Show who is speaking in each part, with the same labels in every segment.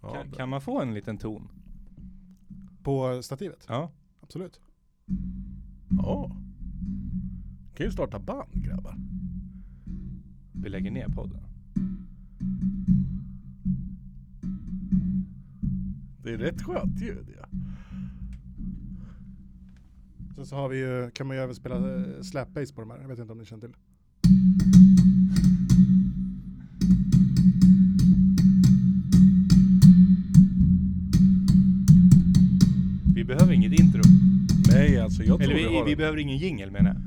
Speaker 1: av
Speaker 2: man,
Speaker 1: det.
Speaker 2: kan man få en liten ton?
Speaker 1: På stativet?
Speaker 2: Ja.
Speaker 1: Absolut.
Speaker 3: Ja. Kan ju starta band grabbar.
Speaker 2: Vi lägger ner podden.
Speaker 3: Det är rätt skönt ljud ja.
Speaker 1: Sen så har vi ju, kan man ju även spela eh, slap bass på de här. Jag vet inte om ni känner till.
Speaker 2: Vi behöver inget intro.
Speaker 3: Nej alltså jag tror
Speaker 2: Eller
Speaker 3: vi,
Speaker 2: vi,
Speaker 3: har
Speaker 2: vi
Speaker 3: en-
Speaker 2: behöver ingen jingel menar jag.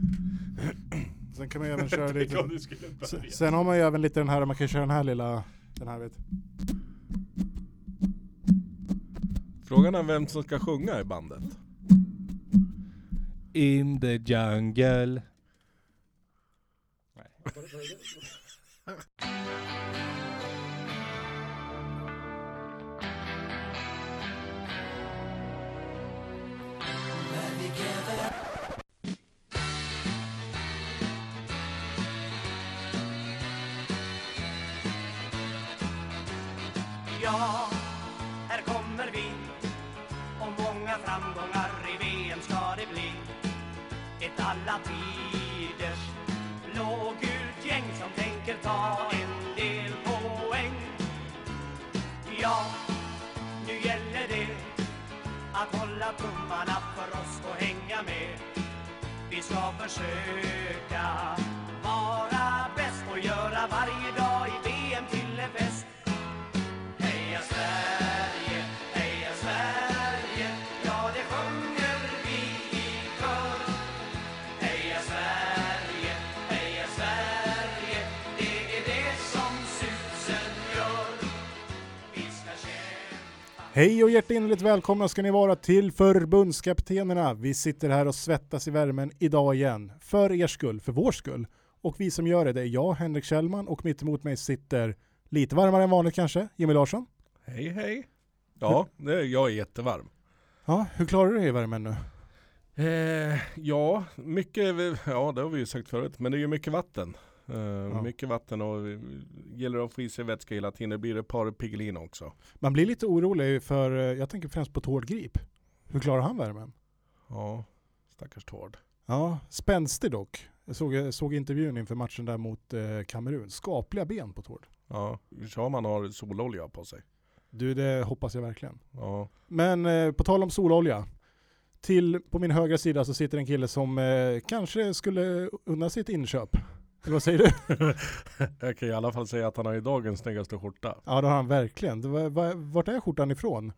Speaker 1: Sen kan man ju även köra lite...
Speaker 3: du skulle
Speaker 1: se- Sen har man ju även lite den här, man kan köra den här lilla... Den här vet.
Speaker 3: Frågan är vem som ska sjunga i bandet.
Speaker 2: In the jungle.
Speaker 4: Ja, här kommer vi Och många framgångar i VM ska det bli Ett alla tiders blågult gäng som tänker ta en del poäng Ja, nu gäller det att hålla tummarna för oss och hänga med Vi ska försöka vara bäst och göra varje dag i VM till en fest Heja Sverige, heja Sverige, ja det sjunger vi i kör. Heja Sverige, heja Sverige, det är det som susen gör. Vi ska kämpa
Speaker 1: Hej och hjärtinnerligt välkomna ska ni vara till förbundskaptenerna. Vi sitter här och svettas i värmen idag igen. För er skull, för vår skull. Och vi som gör det, det är jag, Henrik Kjellman, och mitt emot mig sitter lite varmare än vanligt kanske, Jimmy Larsson.
Speaker 3: Hej hej. Ja, det, jag är jättevarm.
Speaker 1: Ja, hur klarar du dig i värmen nu?
Speaker 3: Eh, ja, mycket, ja det har vi ju sagt förut, men det är ju mycket vatten. Eh, Mycket vatten och eh, gäller det att få i sig vätska hela tiden. Det blir ett par Piggelin också.
Speaker 1: Man blir lite orolig för, eh, jag tänker främst på Tord Grip. Hur klarar han värmen?
Speaker 3: Ja, stackars Tord.
Speaker 1: Ja, spänstig dock. Jag såg, jag såg intervjun inför matchen där mot eh, Kamerun. Skapliga ben på Tord.
Speaker 3: Ja, om man har sololja på sig.
Speaker 1: Du, det hoppas jag verkligen.
Speaker 3: Ja,
Speaker 1: Men eh, på tal om sololja. Till, på min högra sida så sitter en kille som eh, kanske skulle unna sitt inköp. Eller vad säger du?
Speaker 3: jag kan i alla fall säga att han har ju dagens snyggaste skjorta.
Speaker 1: Ja, det har han verkligen. Det var, var, vart är skjortan ifrån?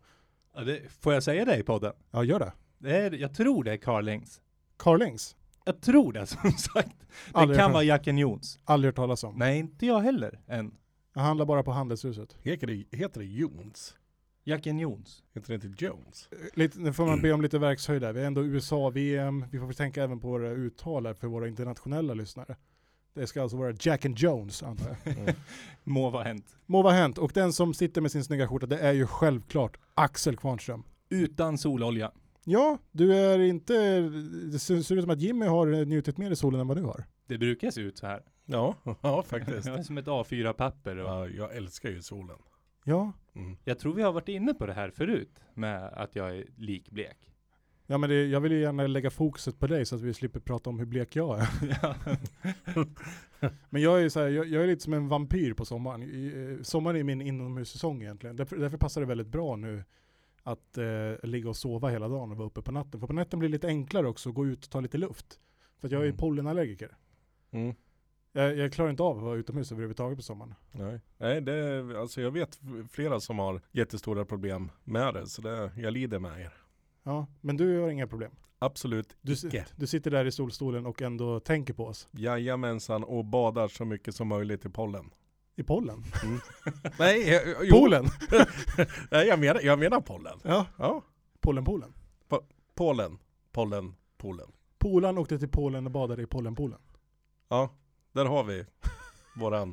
Speaker 2: Ja, det, får jag säga det i podden?
Speaker 1: Ja, gör det.
Speaker 2: Det är, jag tror det är Carlings.
Speaker 1: Carlings? Jag
Speaker 2: Jag tror det som sagt. Det
Speaker 1: Aldrig,
Speaker 2: kan
Speaker 1: hört-
Speaker 2: vara Jacken Jones.
Speaker 1: aldrig hört talas om.
Speaker 2: Nej, inte jag heller än.
Speaker 1: Jag handlar bara på Handelshuset.
Speaker 3: Heter det, heter det Jones?
Speaker 2: Jacken Jones.
Speaker 3: Heter det inte Jones?
Speaker 1: Lite, nu får man be om lite verkshöjd där. Vi är ändå USA-VM. Vi får väl tänka även på våra uttal här för våra internationella lyssnare. Det ska alltså vara Jack and Jones antar jag.
Speaker 2: Må vara hänt.
Speaker 1: Må vara hänt. Och den som sitter med sin snygga skjorta, det är ju självklart Axel Kvarnström.
Speaker 2: Utan sololja.
Speaker 1: Ja, du är inte... Det ser, ser ut som att Jimmy har njutit mer i solen än vad du har.
Speaker 2: Det brukar se ut så här.
Speaker 3: Ja, ja faktiskt.
Speaker 2: Det är som ett A4-papper. Och
Speaker 3: Ja, jag älskar ju solen.
Speaker 1: Ja.
Speaker 3: Mm.
Speaker 2: Jag tror vi har varit inne på det här förut med att jag är likblek.
Speaker 1: Ja men det, jag vill ju gärna lägga fokuset på dig så att vi slipper prata om hur blek jag är.
Speaker 2: Ja.
Speaker 1: Men jag är ju så här, jag, jag är lite som en vampyr på sommaren. I, eh, sommaren är min inomhussäsong egentligen. Därför, därför passar det väldigt bra nu att eh, ligga och sova hela dagen och vara uppe på natten. För på natten blir det lite enklare också att gå ut och ta lite luft. För att jag är ju
Speaker 3: Mm.
Speaker 1: pollenallergiker.
Speaker 3: Mm.
Speaker 1: Jag, jag klarar inte av att vara utomhus överhuvudtaget på sommaren.
Speaker 3: Nej, Nej det, alltså jag vet flera som har jättestora problem med det, så det, jag lider med er.
Speaker 1: Ja, men du har inga problem.
Speaker 3: Absolut
Speaker 1: Du, si-
Speaker 3: icke.
Speaker 1: du sitter där i solstolen och ändå tänker på oss.
Speaker 3: Jajamensan och badar så mycket som möjligt i pollen.
Speaker 1: I pollen?
Speaker 3: Nej, eh, jo.
Speaker 1: Polen?
Speaker 3: Nej jag, menar, jag menar pollen.
Speaker 1: Ja,
Speaker 3: Ja,
Speaker 1: Polen-Polen.
Speaker 3: pollen, pollen, pollen.
Speaker 1: Polan åkte till Polen och badade i Polen-Polen.
Speaker 3: Ja, där har vi våran.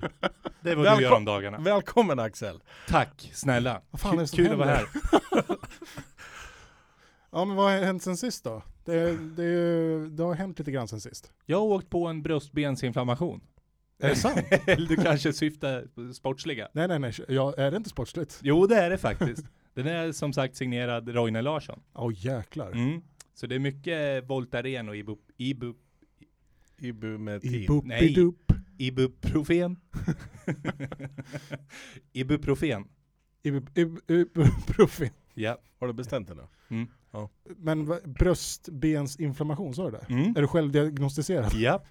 Speaker 2: Det är vad
Speaker 3: Välkom-
Speaker 2: du gör om dagarna.
Speaker 3: Välkommen Axel.
Speaker 2: Tack snälla.
Speaker 1: Vad fan är det
Speaker 2: Kul-
Speaker 1: som
Speaker 2: Kul att vara
Speaker 1: händer?
Speaker 2: här.
Speaker 1: Ja, men vad har hänt sen sist då? Det, det, det har hänt lite grann sen sist.
Speaker 2: Jag har åkt på en bröstbensinflammation.
Speaker 1: Är det sant?
Speaker 2: Eller du kanske syftar på sportsliga.
Speaker 1: nej, nej, nej. Ja, är det inte sportsligt?
Speaker 2: Jo, det är det faktiskt. Den är som sagt signerad Roine Larsson.
Speaker 1: Åh jäklar.
Speaker 2: Mm. Så det är mycket Voltaren och Ibu, Ibu,
Speaker 3: Ibu med tid.
Speaker 1: Ibuppidupp.
Speaker 2: Ibuprofen. Ibuprofen.
Speaker 1: Ibub- ib- Ibuprofen.
Speaker 2: Ja.
Speaker 3: Har du bestämt det nu?
Speaker 2: Mm.
Speaker 1: Men va- bröstbensinflammation, sa du det?
Speaker 2: Mm.
Speaker 1: Är du självdiagnostiserad?
Speaker 2: Ja.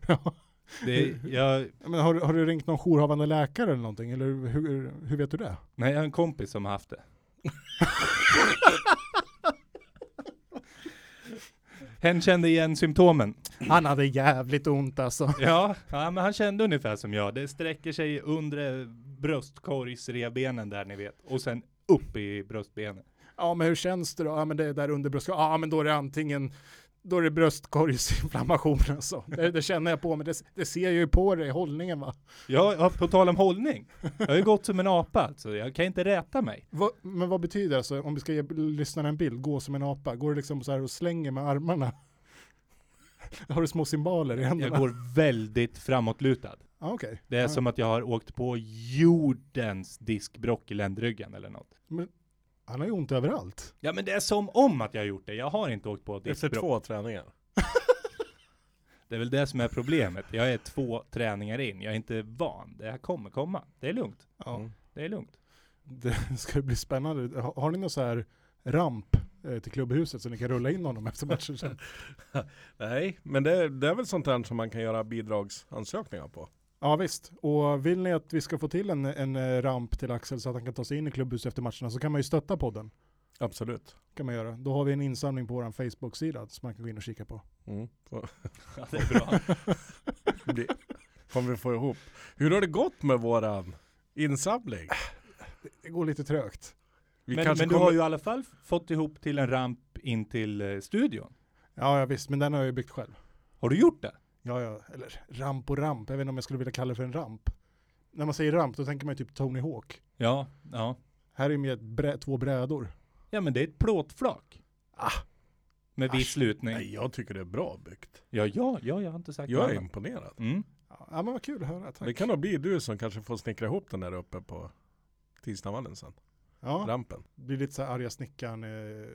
Speaker 2: Det, jag,
Speaker 1: Men har, du- har du ringt någon jourhavande läkare eller någonting? Eller hur, hur vet du det?
Speaker 2: nej, jag har en kompis som har haft det. Hen kände igen symptomen.
Speaker 1: Han hade jävligt ont alltså.
Speaker 2: Ja, ja, men han kände ungefär som jag. Det sträcker sig under bröstkorgsrevbenen där ni vet. Och sen upp i bröstbenen.
Speaker 1: Ja men hur känns det då? Ja men det är där under bröstkorgen. Ja men då är det antingen då är det bröstkorgsinflammation alltså. Det, det känner jag på mig. Det, det ser jag ju på dig, hållningen va?
Speaker 2: Ja, ja, på tal om hållning. Jag har ju gått som en apa alltså. Jag kan inte räta mig.
Speaker 1: Vad- men vad betyder det alltså, om vi ska ge lyssnarna en bild, gå som en apa? Går du liksom så här och slänger med armarna? Har du små symboler i händerna?
Speaker 2: Jag går väldigt framåtlutad.
Speaker 1: Ja, okej.
Speaker 2: Det är
Speaker 1: Ja.
Speaker 2: som att jag har åkt på jordens diskbrock i ländryggen eller något.
Speaker 1: Han har ju ont överallt.
Speaker 2: Ja men det är som om att jag har gjort det. Jag har inte åkt på
Speaker 3: Efter
Speaker 2: diskbrock.
Speaker 3: två träningar.
Speaker 2: Det är väl det som är problemet. Jag är två träningar in. Jag är inte van. Det här kommer komma. Det är lugnt.
Speaker 1: Ja.
Speaker 3: Mm.
Speaker 2: Det är lugnt.
Speaker 1: Det ska ju bli spännande. Har, har ni någon så här ramp eh, till klubbhuset så ni kan rulla in honom efter matchen sen?
Speaker 3: Nej, men det, det är väl sånt där som man kan göra bidragsansökningar på.
Speaker 1: Ja visst, och vill ni att vi ska få till en, en eh, ramp till Axel så att han kan ta sig in i klubbhuset efter matcherna så kan man ju stötta podden.
Speaker 3: Absolut.
Speaker 1: Kan man göra. Då har vi en insamling på vår Facebook-sida som man kan gå in och kika på.
Speaker 3: Mm. Får-
Speaker 2: Ja, det är bra.
Speaker 3: det blir- Kommer vi få ihop. Hur har det gått med våran insamling?
Speaker 1: Det går lite trögt.
Speaker 2: men
Speaker 3: Vi
Speaker 2: men
Speaker 3: kanske
Speaker 2: du
Speaker 3: kommer-
Speaker 2: har ju i alla fall fått ihop till en ramp in till eh, studion.
Speaker 1: Ja, ja visst, men den har jag ju byggt själv.
Speaker 2: Har du gjort det?
Speaker 1: Ja, ja, eller ramp och ramp, jag vet inte om jag skulle vilja kalla det för en ramp. När man säger ramp då tänker man ju typ Tony Hawk.
Speaker 2: Ja, ja.
Speaker 1: Här är ju med ett brä- två brädor.
Speaker 2: Ja men det är ett plåtflak.
Speaker 1: Ah.
Speaker 2: Med viss slutning.
Speaker 3: Nej, jag tycker det är bra byggt.
Speaker 2: Ja, ja, ja, jag har inte sagt
Speaker 3: Jag
Speaker 2: något
Speaker 3: är
Speaker 2: annat.
Speaker 3: imponerad.
Speaker 2: Mm.
Speaker 1: Ja, men vad kul att höra, tack.
Speaker 3: Det kan nog bli du som kanske får snickra ihop den där uppe på Tisnavallen sen.
Speaker 1: ja,
Speaker 3: Rampen.
Speaker 1: det blir lite så här arga snickaren eh,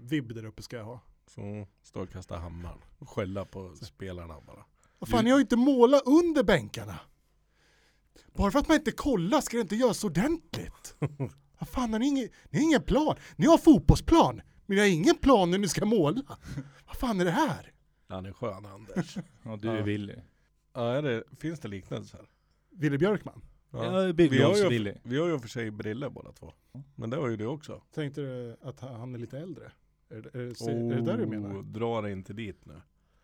Speaker 1: vibb där uppe ska jag ha.
Speaker 3: Så står och kastar hammaren och skälla på spelarna bara.
Speaker 1: Vad fan, ni har ju inte målat under bänkarna. Bara för att man inte kollar ska det inte göras ordentligt. Vad fan, har ni, ingen, ni har ingen plan. Ni har fotbollsplan, men ni har ingen plan när ni ska måla. Vad fan är det här?
Speaker 3: Han är skön Anders.
Speaker 2: Ja, du
Speaker 3: Ja.
Speaker 2: är Willy.
Speaker 3: ja, är det, finns det liknelser?
Speaker 1: Willy Björkman,
Speaker 2: Ja, ja
Speaker 3: Vi har, ju,
Speaker 2: Billy.
Speaker 3: vi har ju för sig briller båda två. Men det har ju du också.
Speaker 1: tänkte du att han han är lite äldre? Är det, är det, är det där du menar?
Speaker 3: Dra dig inte dit nu.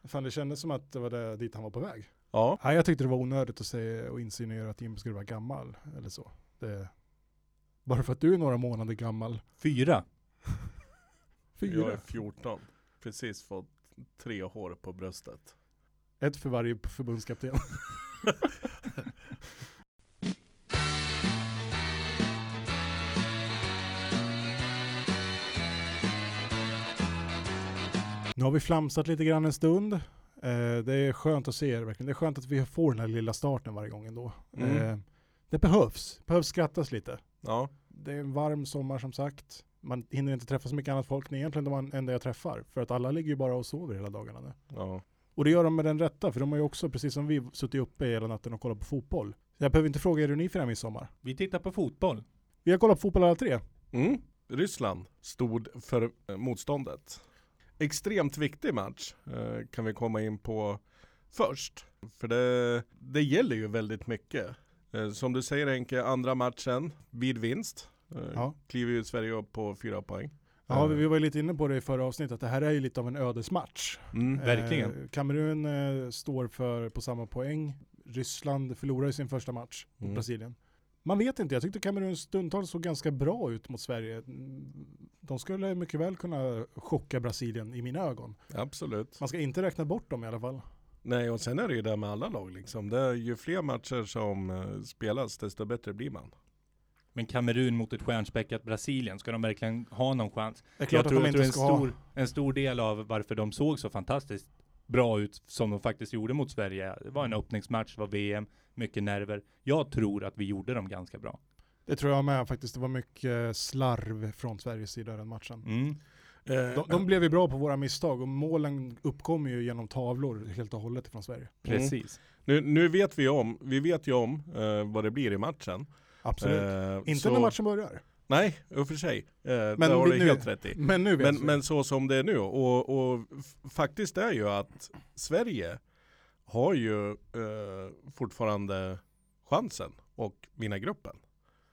Speaker 1: Fan, det kändes som att det var där, dit han var på väg.
Speaker 3: Ja,
Speaker 1: Nej, jag tyckte det var onödigt att säga och insinuera att Jim skulle vara gammal eller så. Det, bara för att du är några månader gammal.
Speaker 2: Fyra.
Speaker 3: jag är
Speaker 1: Fyra.
Speaker 3: 14. Precis fått tre hår på bröstet.
Speaker 1: Ett för varje förbundskapten. Nu har vi flamsat lite grann en stund. Eh, det är skönt att se er verkligen. Det är skönt att vi får den här lilla starten varje gång ändå.
Speaker 3: Mm.
Speaker 1: Eh, det behövs. behövs skrattas lite.
Speaker 3: Ja,
Speaker 1: Det är en varm sommar som sagt. Man hinner inte träffa så mycket annat folk. Ni är egentligen de enda jag träffar. För att alla ligger ju bara och sover hela dagarna nu.
Speaker 3: ja.
Speaker 1: Och det gör de med den rätta, för de har ju också, precis som vi, suttit uppe hela natten och kollat på fotboll. Jag behöver inte fråga er hur ni firar midsommar.
Speaker 2: Vi tittar på fotboll.
Speaker 1: Vi har kollat på fotboll alla tre.
Speaker 3: Mm. Ryssland stod för eh, motståndet. Extremt viktig match eh, kan vi komma in på först. För det, det gäller ju väldigt mycket. Eh, som du säger Henke, andra matchen vid vinst. Eh,
Speaker 1: Ja.
Speaker 3: Kliver ju Sverige upp på fyra poäng.
Speaker 1: Ja,
Speaker 3: Eh,
Speaker 1: vi var ju lite inne på det i förra avsnittet, att det här är ju lite av en ödesmatch.
Speaker 3: mm.
Speaker 2: Verkligen.
Speaker 1: Eh, Kamerun eh, står för på samma poäng. Ryssland förlorar ju sin första match mot
Speaker 3: Mm.
Speaker 1: Brasilien. Man vet inte, jag tyckte Kamerun stundtals såg ganska bra ut mot Sverige. De skulle mycket väl kunna chocka Brasilien i mina ögon.
Speaker 3: Mm. Absolut.
Speaker 1: Man ska inte räkna bort dem i alla fall.
Speaker 3: Nej, och sen är det ju det med alla lag liksom. Det är ju fler matcher som eh, spelas, desto bättre blir man.
Speaker 2: Men Kamerun mot ett stjärnspäckat Brasilien, ska de verkligen ha någon chans?
Speaker 1: Det är klart
Speaker 2: jag tror,
Speaker 1: att de
Speaker 2: jag tror
Speaker 1: inte
Speaker 2: en,
Speaker 1: ska ha...
Speaker 2: stor, en stor del av varför de såg så fantastiskt bra ut som de faktiskt gjorde mot Sverige. Det var en öppningsmatch, det var VM, mycket nerver. Jag tror att vi gjorde dem ganska bra.
Speaker 1: Det tror jag med faktiskt. Det var mycket slarv från Sveriges sida i den matchen.
Speaker 2: Mm.
Speaker 1: De, de blev ju bra på våra misstag och målen uppkommer ju genom tavlor helt och hållet från Sverige.
Speaker 2: Precis.
Speaker 3: Nu, nu vet vi om, vi vet ju om eh, vad det blir i matchen.
Speaker 1: Absolut.
Speaker 3: Eh,
Speaker 1: Inte
Speaker 3: så-
Speaker 1: när matchen börjar.
Speaker 3: Nej, i och för sig. Eh, men
Speaker 1: Men
Speaker 3: det har
Speaker 1: vi-
Speaker 3: du
Speaker 1: nu-
Speaker 3: helt rätt i.
Speaker 1: Men nu vet
Speaker 3: Men,
Speaker 1: vi.
Speaker 3: men så som det är nu, och, och f- faktiskt är ju att Sverige har ju eh, fortfarande chansen och vinna gruppen.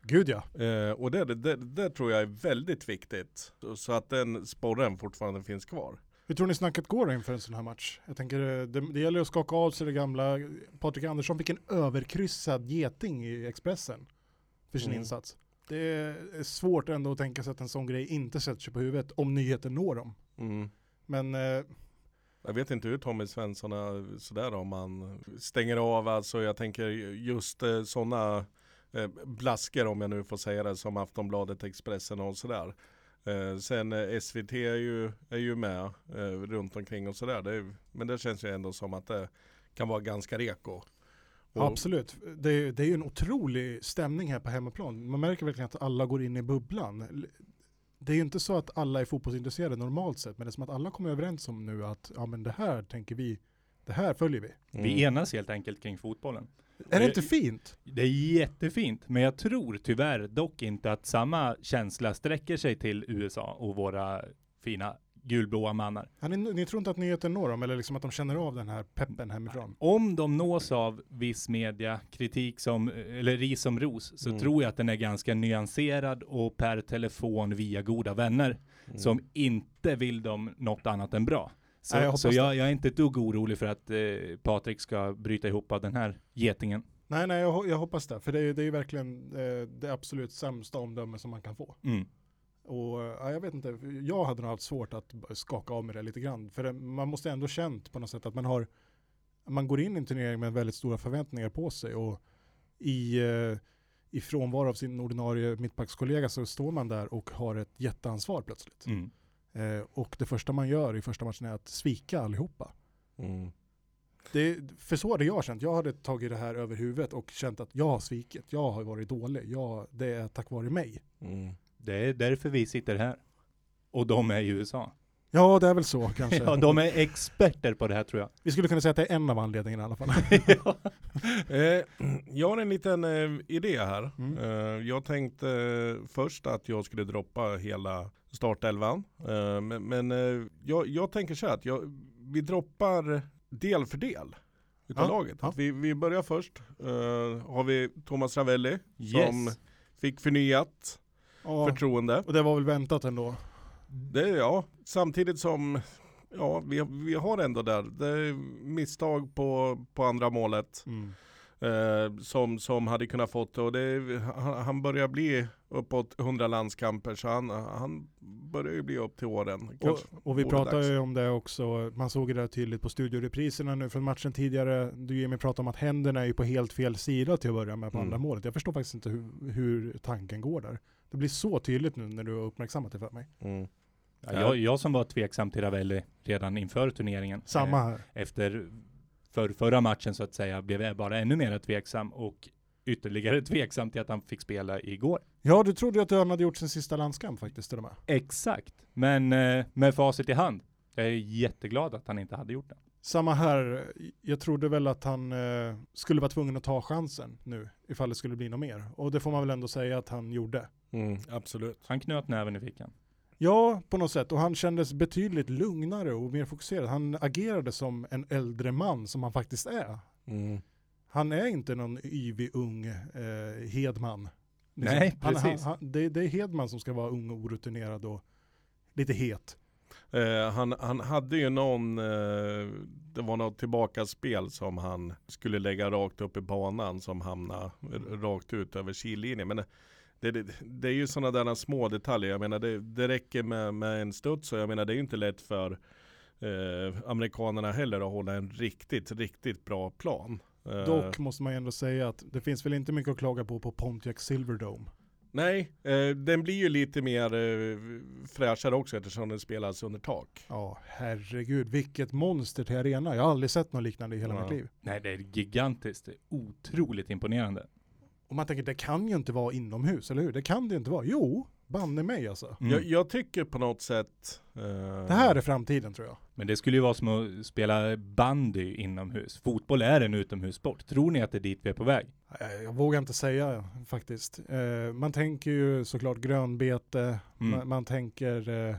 Speaker 1: Gud ja.
Speaker 3: Eh, och det, det, det tror jag är väldigt viktigt. Så- Så att den sporren fortfarande finns kvar.
Speaker 1: Hur tror ni snacket går inför en sån här match? Jag tänker, eh, det, det gäller att skaka av sig det gamla. Patrik Andersson fick en överkryssad geting i Expressen för sin
Speaker 3: Mm.
Speaker 1: insats. Det är svårt ändå att tänka sig att en sån grej inte sätter sig på huvudet om nyheten når dem. Men eh,
Speaker 3: Mm. Jag vet inte hur Tommy Svensson är sådär om man stänger av, alltså jag tänker just eh, sådana eh, blaskor om jag nu får säga det som Aftonbladet, Expressen och sådär. Eh, sen eh, SVT är ju, är ju med eh, runt omkring och sådär. Det är, men det känns ju ändå som att det kan vara ganska reko. Och-
Speaker 1: Absolut. Det, det är ju en otrolig stämning här på hemmaplan. Man märker verkligen att alla går in i bubblan. Det är ju inte så att alla är fotbollsintresserade normalt sett, men det är som att alla kommer överens om nu att ja, men det här tänker vi, det här följer vi.
Speaker 2: Vi enas helt enkelt kring fotbollen.
Speaker 1: Är det
Speaker 2: Eh,
Speaker 1: inte fint?
Speaker 2: Det är jättefint, men jag tror tyvärr dock inte att samma känsla sträcker sig till USA och våra fina gulblåa mannar.
Speaker 1: Ja, ni, ni tror inte att nyheten når dem, eller liksom att de känner av den här peppen hemifrån?
Speaker 2: Om de nås av viss media, kritik som, eller ris som ros, så
Speaker 3: Mm.
Speaker 2: tror jag att den är ganska nyanserad och per telefon via goda vänner
Speaker 1: Mm.
Speaker 2: som inte vill dem något annat än bra. Så,
Speaker 1: Nej, jag
Speaker 2: jag,
Speaker 1: hoppas
Speaker 2: så
Speaker 1: det.
Speaker 2: jag, jag är inte ett dugg orolig för att eh, Patrik ska bryta ihop av den här getingen.
Speaker 1: Nej, nej, jag, ho- jag hoppas det, för det är, det är ju verkligen eh, det absolut sämsta omdöme som man kan få.
Speaker 2: Mm.
Speaker 1: Och eh, ja, jag vet inte, jag hade nog haft svårt att b- skaka av mig det lite grann. För det, man måste ändå känt på något sätt att man har, man går in i en turnering med väldigt stora förväntningar på sig och i, eh, i frånvaro av sin ordinarie mittbackskollega så står man där och har ett jätteansvar plötsligt.
Speaker 2: Mm.
Speaker 1: Eh, och det första man gör i första matchen är att svika allihopa.
Speaker 3: Mm.
Speaker 1: Det, för så hade jag känt, jag hade tagit det här över huvudet och känt att jag har svikit, jag har varit dålig, jag, det är tack vare mig.
Speaker 3: Mm.
Speaker 2: Det är därför vi sitter här. Och de är i USA.
Speaker 1: Ja, det är väl så kanske.
Speaker 2: Ja, de är experter på det här tror jag.
Speaker 1: Vi skulle kunna säga att det är en av anledningarna i alla fall.
Speaker 3: Eh, jag har en liten eh, idé här.
Speaker 1: Mm.
Speaker 3: Eh, jag tänkte eh, först att jag skulle droppa hela startelvan. Eh, men men eh, jag, jag tänker så här att jag, vi droppar del för del utav
Speaker 1: Ja,
Speaker 3: laget.
Speaker 1: ja.
Speaker 3: Att vi, vi börjar först. Eh, har vi Thomas Ravelli som
Speaker 2: Yes.
Speaker 3: fick förnyat
Speaker 1: Ja,
Speaker 3: förtroende.
Speaker 1: och det var väl väntat ändå.
Speaker 3: Det, ja, samtidigt som ja, vi, vi har ändå där, det är misstag på, på andra målet.
Speaker 1: Mm.
Speaker 3: eh, som, som hade kunnat fått det. och det. Han, han börjar bli uppåt 100 landskamper så han, han börjar ju bli upp till åren.
Speaker 1: Och,
Speaker 3: Kanske.
Speaker 1: och vi
Speaker 3: vore
Speaker 1: pratade
Speaker 3: dags.
Speaker 1: ju om det också, man såg det där tydligt på studiorepriserna nu från matchen tidigare. Du Jimmy pratade om att händerna är ju på helt fel sida till att börja med på
Speaker 3: Mm.
Speaker 1: andra målet. Jag förstår faktiskt inte hur, hur tanken går där. Det blir så tydligt nu när du har uppmärksammat det för mig.
Speaker 3: Mm.
Speaker 2: Ja, jag, jag som var tveksam till Ravelli redan inför turneringen.
Speaker 1: Samma
Speaker 2: eh,
Speaker 1: här.
Speaker 2: Efter för, förra matchen så att säga blev jag bara ännu mer tveksam och ytterligare tveksam till att han fick spela igår.
Speaker 1: Ja, du trodde ju att han hade gjort sin sista landskamp faktiskt till och med.
Speaker 2: Exakt. Men eh, med facit i hand. Jag är jätteglad att han inte hade gjort det.
Speaker 1: Samma här, jag trodde väl att han eh, skulle vara tvungen att ta chansen nu ifall det skulle bli något mer. Och det får man väl ändå säga att han gjorde.
Speaker 3: Mm, absolut.
Speaker 2: Han knöt näven i fickan.
Speaker 1: Ja, på något sätt. Och han kändes betydligt lugnare och mer fokuserad. Han agerade som en äldre man som han faktiskt är.
Speaker 3: Mm.
Speaker 1: Han är inte någon yvig ung eh, Hedman. Liksom.
Speaker 2: Nej,
Speaker 1: han, han,
Speaker 2: precis.
Speaker 1: han, det, det är Hedman som ska vara ung och orutinerad och lite het.
Speaker 3: Eh, han, han hade ju någon, eh, det var något tillbakaspel som han skulle lägga rakt upp i banan som hamnade r- rakt ut över killinjen. Men eh, det, det, det är ju sådana där små detaljer. Jag menar det, det räcker med, med en studs och jag menar det är ju inte lätt för eh, amerikanerna heller att hålla en riktigt, riktigt bra plan. Eh,
Speaker 1: Dock måste man ju ändå säga att det finns väl inte mycket att klaga på på Pontiac Silverdome.
Speaker 3: Nej, eh, den blir ju lite mer eh, fräschare också eftersom den spelas under tak.
Speaker 1: Ja, herregud, vilket monster till arena. Jag har aldrig sett något liknande i hela
Speaker 3: Ja.
Speaker 1: mitt liv.
Speaker 2: Nej, det är gigantiskt. Det är otroligt imponerande.
Speaker 1: Och man tänker, det kan ju inte vara inomhus, eller hur? Det kan det ju inte vara. Jo, banne mig alltså.
Speaker 2: Mm.
Speaker 3: Jag, jag tycker på något sätt... eh,
Speaker 1: Det här är framtiden tror jag.
Speaker 2: Men det skulle ju vara som att spela bandy inomhus. Fotboll är en utomhussport. Tror ni att det är dit vi är på väg?
Speaker 1: Eh, Jag vågar inte säga faktiskt. Eh, man tänker ju såklart grönbete,
Speaker 2: Mm.
Speaker 1: man, man tänker eh,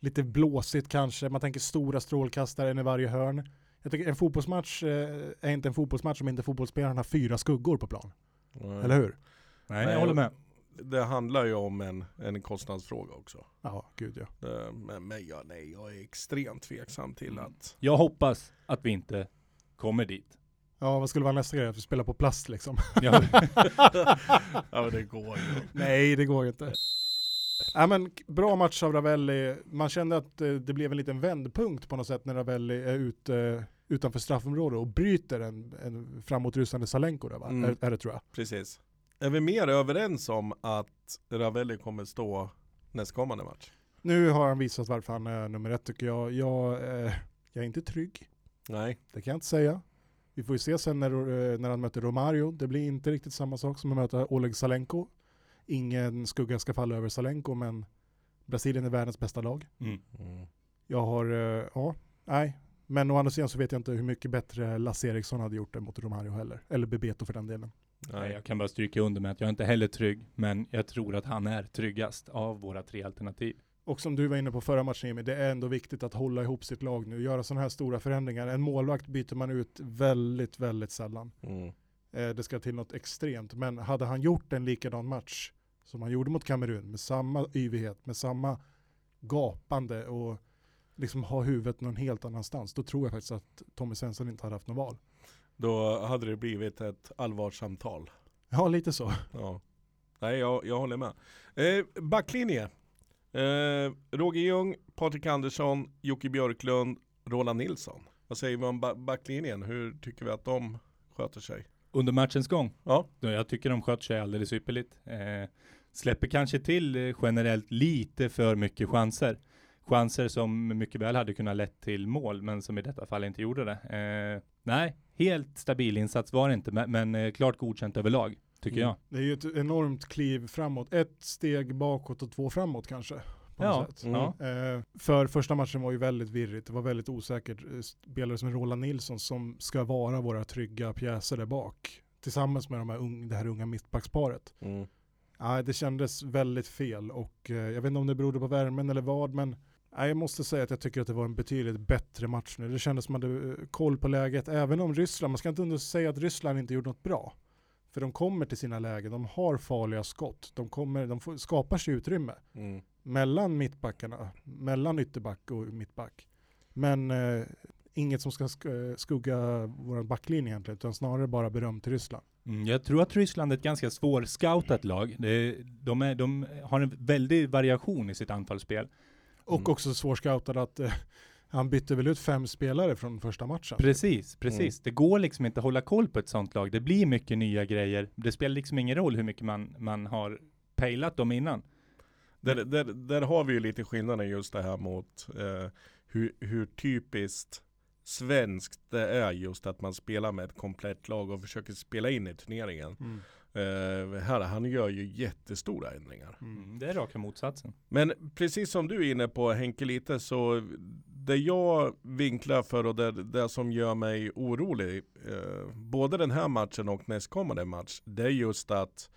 Speaker 1: lite blåsigt kanske, man tänker stora strålkastare en i varje hörn. Jag tycker en fotbollsmatch eh, är inte en fotbollsmatch om inte fotbollsspelaren har fyra skuggor på plan.
Speaker 3: eh,
Speaker 1: Eller hur?
Speaker 2: Nej,
Speaker 3: Nej,
Speaker 2: jag håller med.
Speaker 3: Det handlar ju om en, en kostnadsfråga också.
Speaker 1: Ja, gud ja.
Speaker 3: Eh, Men, men jag, nej, jag är extremt tveksam till att...
Speaker 2: Jag hoppas att vi inte kommer dit.
Speaker 1: Ja, vad skulle vara nästa grej? Att vi spelar på plast liksom.
Speaker 2: Jag,
Speaker 3: Ja, men det går ju.
Speaker 1: Nej, det går ju inte. Ja, men, k- bra match av Ravelli. Man kände att eh, det blev en liten vändpunkt på något sätt när Ravelli är ute eh, utanför straffområdet och bryter en, en framåtrusande Salenko. Där, va?
Speaker 3: Mm.
Speaker 1: Är, är det tror jag.
Speaker 3: Precis. Är vi mer överens om att Ravelli kommer stå nästkommande match?
Speaker 1: Nu har han visat varför han är nummer ett tycker jag. Jag, eh, jag är inte trygg,
Speaker 3: Nej.
Speaker 1: det kan jag inte säga. Vi får ju se sen när, eh, när han möter Romario. Det blir inte riktigt samma sak som att möta Oleg Salenko. Ingen skugga ska falla över Salenko, men Brasilien är världens bästa lag.
Speaker 2: mm.
Speaker 1: Jag har, eh, ja, nej. Men å andra sidan så vet jag inte hur mycket bättre Lasse Eriksson hade gjort det mot Romario heller. Eller Bebeto för den delen.
Speaker 2: Nej,
Speaker 3: Nej.
Speaker 2: jag kan bara stryka under med att jag är inte heller trygg, men jag tror att han är tryggast av våra tre alternativ.
Speaker 1: Och som du var inne på förra matchen Jimmy, det är ändå viktigt att hålla ihop sitt lag nu. Göra sådana här stora förändringar. En målvakt byter man ut väldigt, väldigt sällan.
Speaker 3: Mm.
Speaker 1: Eh, det ska till något extremt. Men hade han gjort en likadan match som han gjorde mot Kamerun med samma yvighet, med samma gapande och liksom ha huvudet någon helt annanstans, då tror jag faktiskt att Tommy Svensson inte hade haft något val.
Speaker 3: Då hade det blivit ett allvarssamtal.
Speaker 1: Ja, lite så.
Speaker 3: Ja. Nej, jag, jag håller med. Eh, backlinje. Eh, Roger Ljung, Patrik Andersson, Jocke Björklund, Roland Nilsson. Vad säger vi om ba- backlinjen? Hur tycker vi att de sköter sig?
Speaker 2: Under matchens gång,
Speaker 3: Ja.
Speaker 2: då jag tycker de sköter sig alldeles ypperligt. Eh, släpper kanske till eh, generellt lite för mycket chanser. Chanser som mycket väl hade kunnat lett till mål, men som i detta fall inte gjorde det. Eh, nej, helt stabil insats var det inte, men, men eh, klart godkänt överlag, tycker
Speaker 3: Mm.
Speaker 2: jag.
Speaker 1: Det är ju ett enormt kliv framåt. Ett steg bakåt och två framåt kanske. På
Speaker 2: Ja,
Speaker 1: något sätt.
Speaker 3: Mm.
Speaker 2: ja.
Speaker 1: Eh, för första matchen var ju väldigt virrigt, det var väldigt osäkert. Eh, Spelare som Roland Nilsson som ska vara våra trygga pjäser där bak. Tillsammans med de här un- det här unga mittbacksparet.
Speaker 3: Mm.
Speaker 1: Nej, det kändes väldigt fel och eh, jag vet inte om det berodde på värmen eller vad, men nej, jag måste säga att jag tycker att det var en betydligt bättre match nu. Det kändes som att man hade eh, koll på läget, även om Ryssland, man ska inte under- säga att Ryssland inte gjorde något bra. För de kommer till sina lägen, de har farliga skott, de, kommer, de får, skapar sig utrymme
Speaker 3: Mm.
Speaker 1: mellan mittbackarna, mellan ytterback och mittback. Men eh, inget som ska sk- eh, skugga vår backlinje egentligen, utan snarare bara beröm till Ryssland.
Speaker 2: Mm, jag tror att Ryssland är ett ganska svårscoutat lag. Det, de, är, de har en väldig variation i sitt anfallsspel.
Speaker 1: Och
Speaker 3: Mm.
Speaker 1: också svårscoutad att eh, han bytte väl ut fem spelare från första matchen.
Speaker 2: Precis, precis.
Speaker 1: Mm.
Speaker 2: Det går liksom inte att hålla koll på ett sånt lag. Det blir mycket nya grejer. Det spelar liksom ingen roll hur mycket man, man har pejlat dem innan.
Speaker 3: Där, där, där har vi ju lite skillnaden just det här mot eh, hur, hur typiskt svenskt det är just att man spelar med ett komplett lag och försöker spela in i turneringen.
Speaker 1: Mm.
Speaker 3: Eh, här, han gör ju jättestora ändringar.
Speaker 1: Mm.
Speaker 2: Det är raka motsatsen.
Speaker 3: Men precis som du är inne på Henke lite så det jag vinklar för och det, det som gör mig orolig eh, både den här matchen och nästkommande match det är just att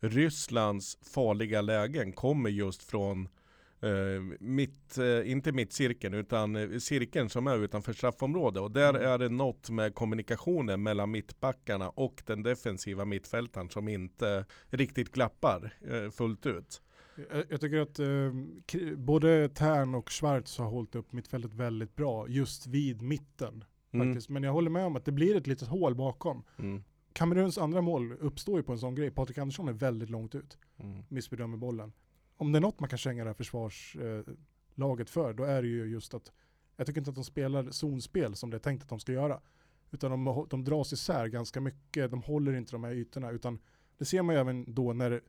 Speaker 3: Rysslands farliga lägen kommer just från eh, mitt, eh, inte mitt cirkeln utan eh, cirkeln som är utanför straffområdet och där är det något med kommunikationen mellan mittbackarna och den defensiva mittfältaren som inte riktigt glappar eh, fullt ut.
Speaker 1: Jag, jag tycker att eh, kri- både Tern och Schwarz har hållit upp mittfältet väldigt bra just vid mitten.
Speaker 3: Mm.
Speaker 1: Faktiskt. Men jag håller med om att det blir ett litet hål bakom.
Speaker 3: Mm.
Speaker 1: Kameruns andra mål uppstår ju på en sån grej. Patrik Andersson är väldigt långt ut.
Speaker 3: Mm.
Speaker 1: missbedömer bollen. Om det är något man kan känga det här försvarslaget eh, laget för, då är det ju just att jag tycker inte att de spelar zonspel som det är tänkt att de ska göra. Utan de, de dras isär ganska mycket, de håller inte de här ytorna, utan det ser man ju även då när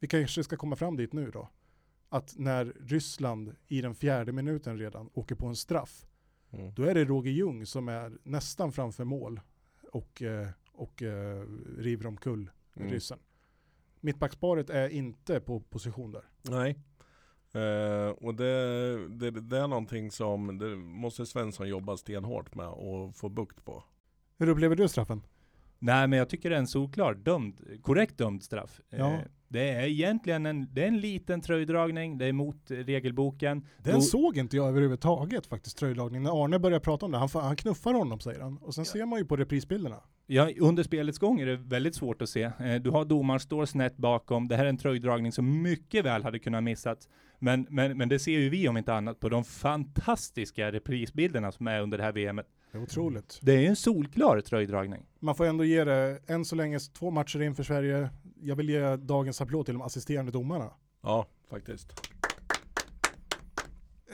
Speaker 1: Vi kanske ska komma fram dit nu då. Att när Ryssland i den fjärde minuten redan åker på en straff,
Speaker 3: Mm.
Speaker 1: då är det Roger Ljung som är nästan framför mål och, eh, och eh, river omkull
Speaker 3: Mm.
Speaker 1: ryssen. Mittbacksparet är inte på position där.
Speaker 3: Nej. Eh, och det, det, det är någonting som det måste Svensson jobba stenhårt med och få bukt på.
Speaker 1: Hur upplever du straffen?
Speaker 2: Nej, men jag tycker det är en solklar dömd, korrekt dömd straff.
Speaker 1: Ja.
Speaker 2: Eh, det är egentligen en, det är en liten tröjdragning, det är mot eh, regelboken.
Speaker 1: Den
Speaker 2: Då-
Speaker 1: såg inte jag överhuvudtaget faktiskt, tröjlagningen. När Arne började prata om det, han, fa- han knuffar honom säger han. Och sen ser man ju på reprisbilderna.
Speaker 2: Ja, under spelets gång är det väldigt svårt att se. Eh, Du har domaren står snett bakom. Det här är en tröjdragning som mycket väl hade kunnat missats. Men, men, men det ser ju vi om inte annat på de fantastiska reprisbilderna som är under det här VMet.
Speaker 1: Det är otroligt.
Speaker 2: Det är ju en solklar tröjdragning.
Speaker 1: Man får ändå ge det, än så länge, två matcher in för Sverige. Jag vill ge dagens applåd till de assisterande domarna.
Speaker 3: Ja, faktiskt.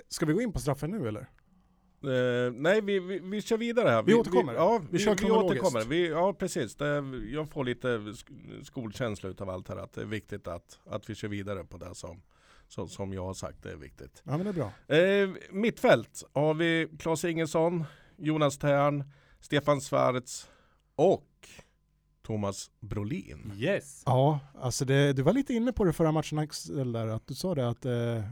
Speaker 1: Ska vi gå in på straffen nu eller?
Speaker 3: Eh, nej, vi, vi, vi kör vidare här.
Speaker 1: Vi återkommer.
Speaker 3: Vi, ja,
Speaker 1: Vi
Speaker 3: vi, vi,
Speaker 1: kör kronologiskt.
Speaker 3: återkommer. Vi, ja, precis. Det, jag får lite sk- skolkänsla utav allt här. Att det är viktigt att, att vi kör vidare på det som, som, som jag har sagt. Det är viktigt.
Speaker 1: Ja men det är bra.
Speaker 3: Eh, mittfält har vi Claes Ingesson, Jonas Tern, Stefan Svarts och Thomas Brolin.
Speaker 2: Yes!
Speaker 1: Ja, alltså det, du var lite inne på det förra matchen Axel, där, att du sa det att eh, eh,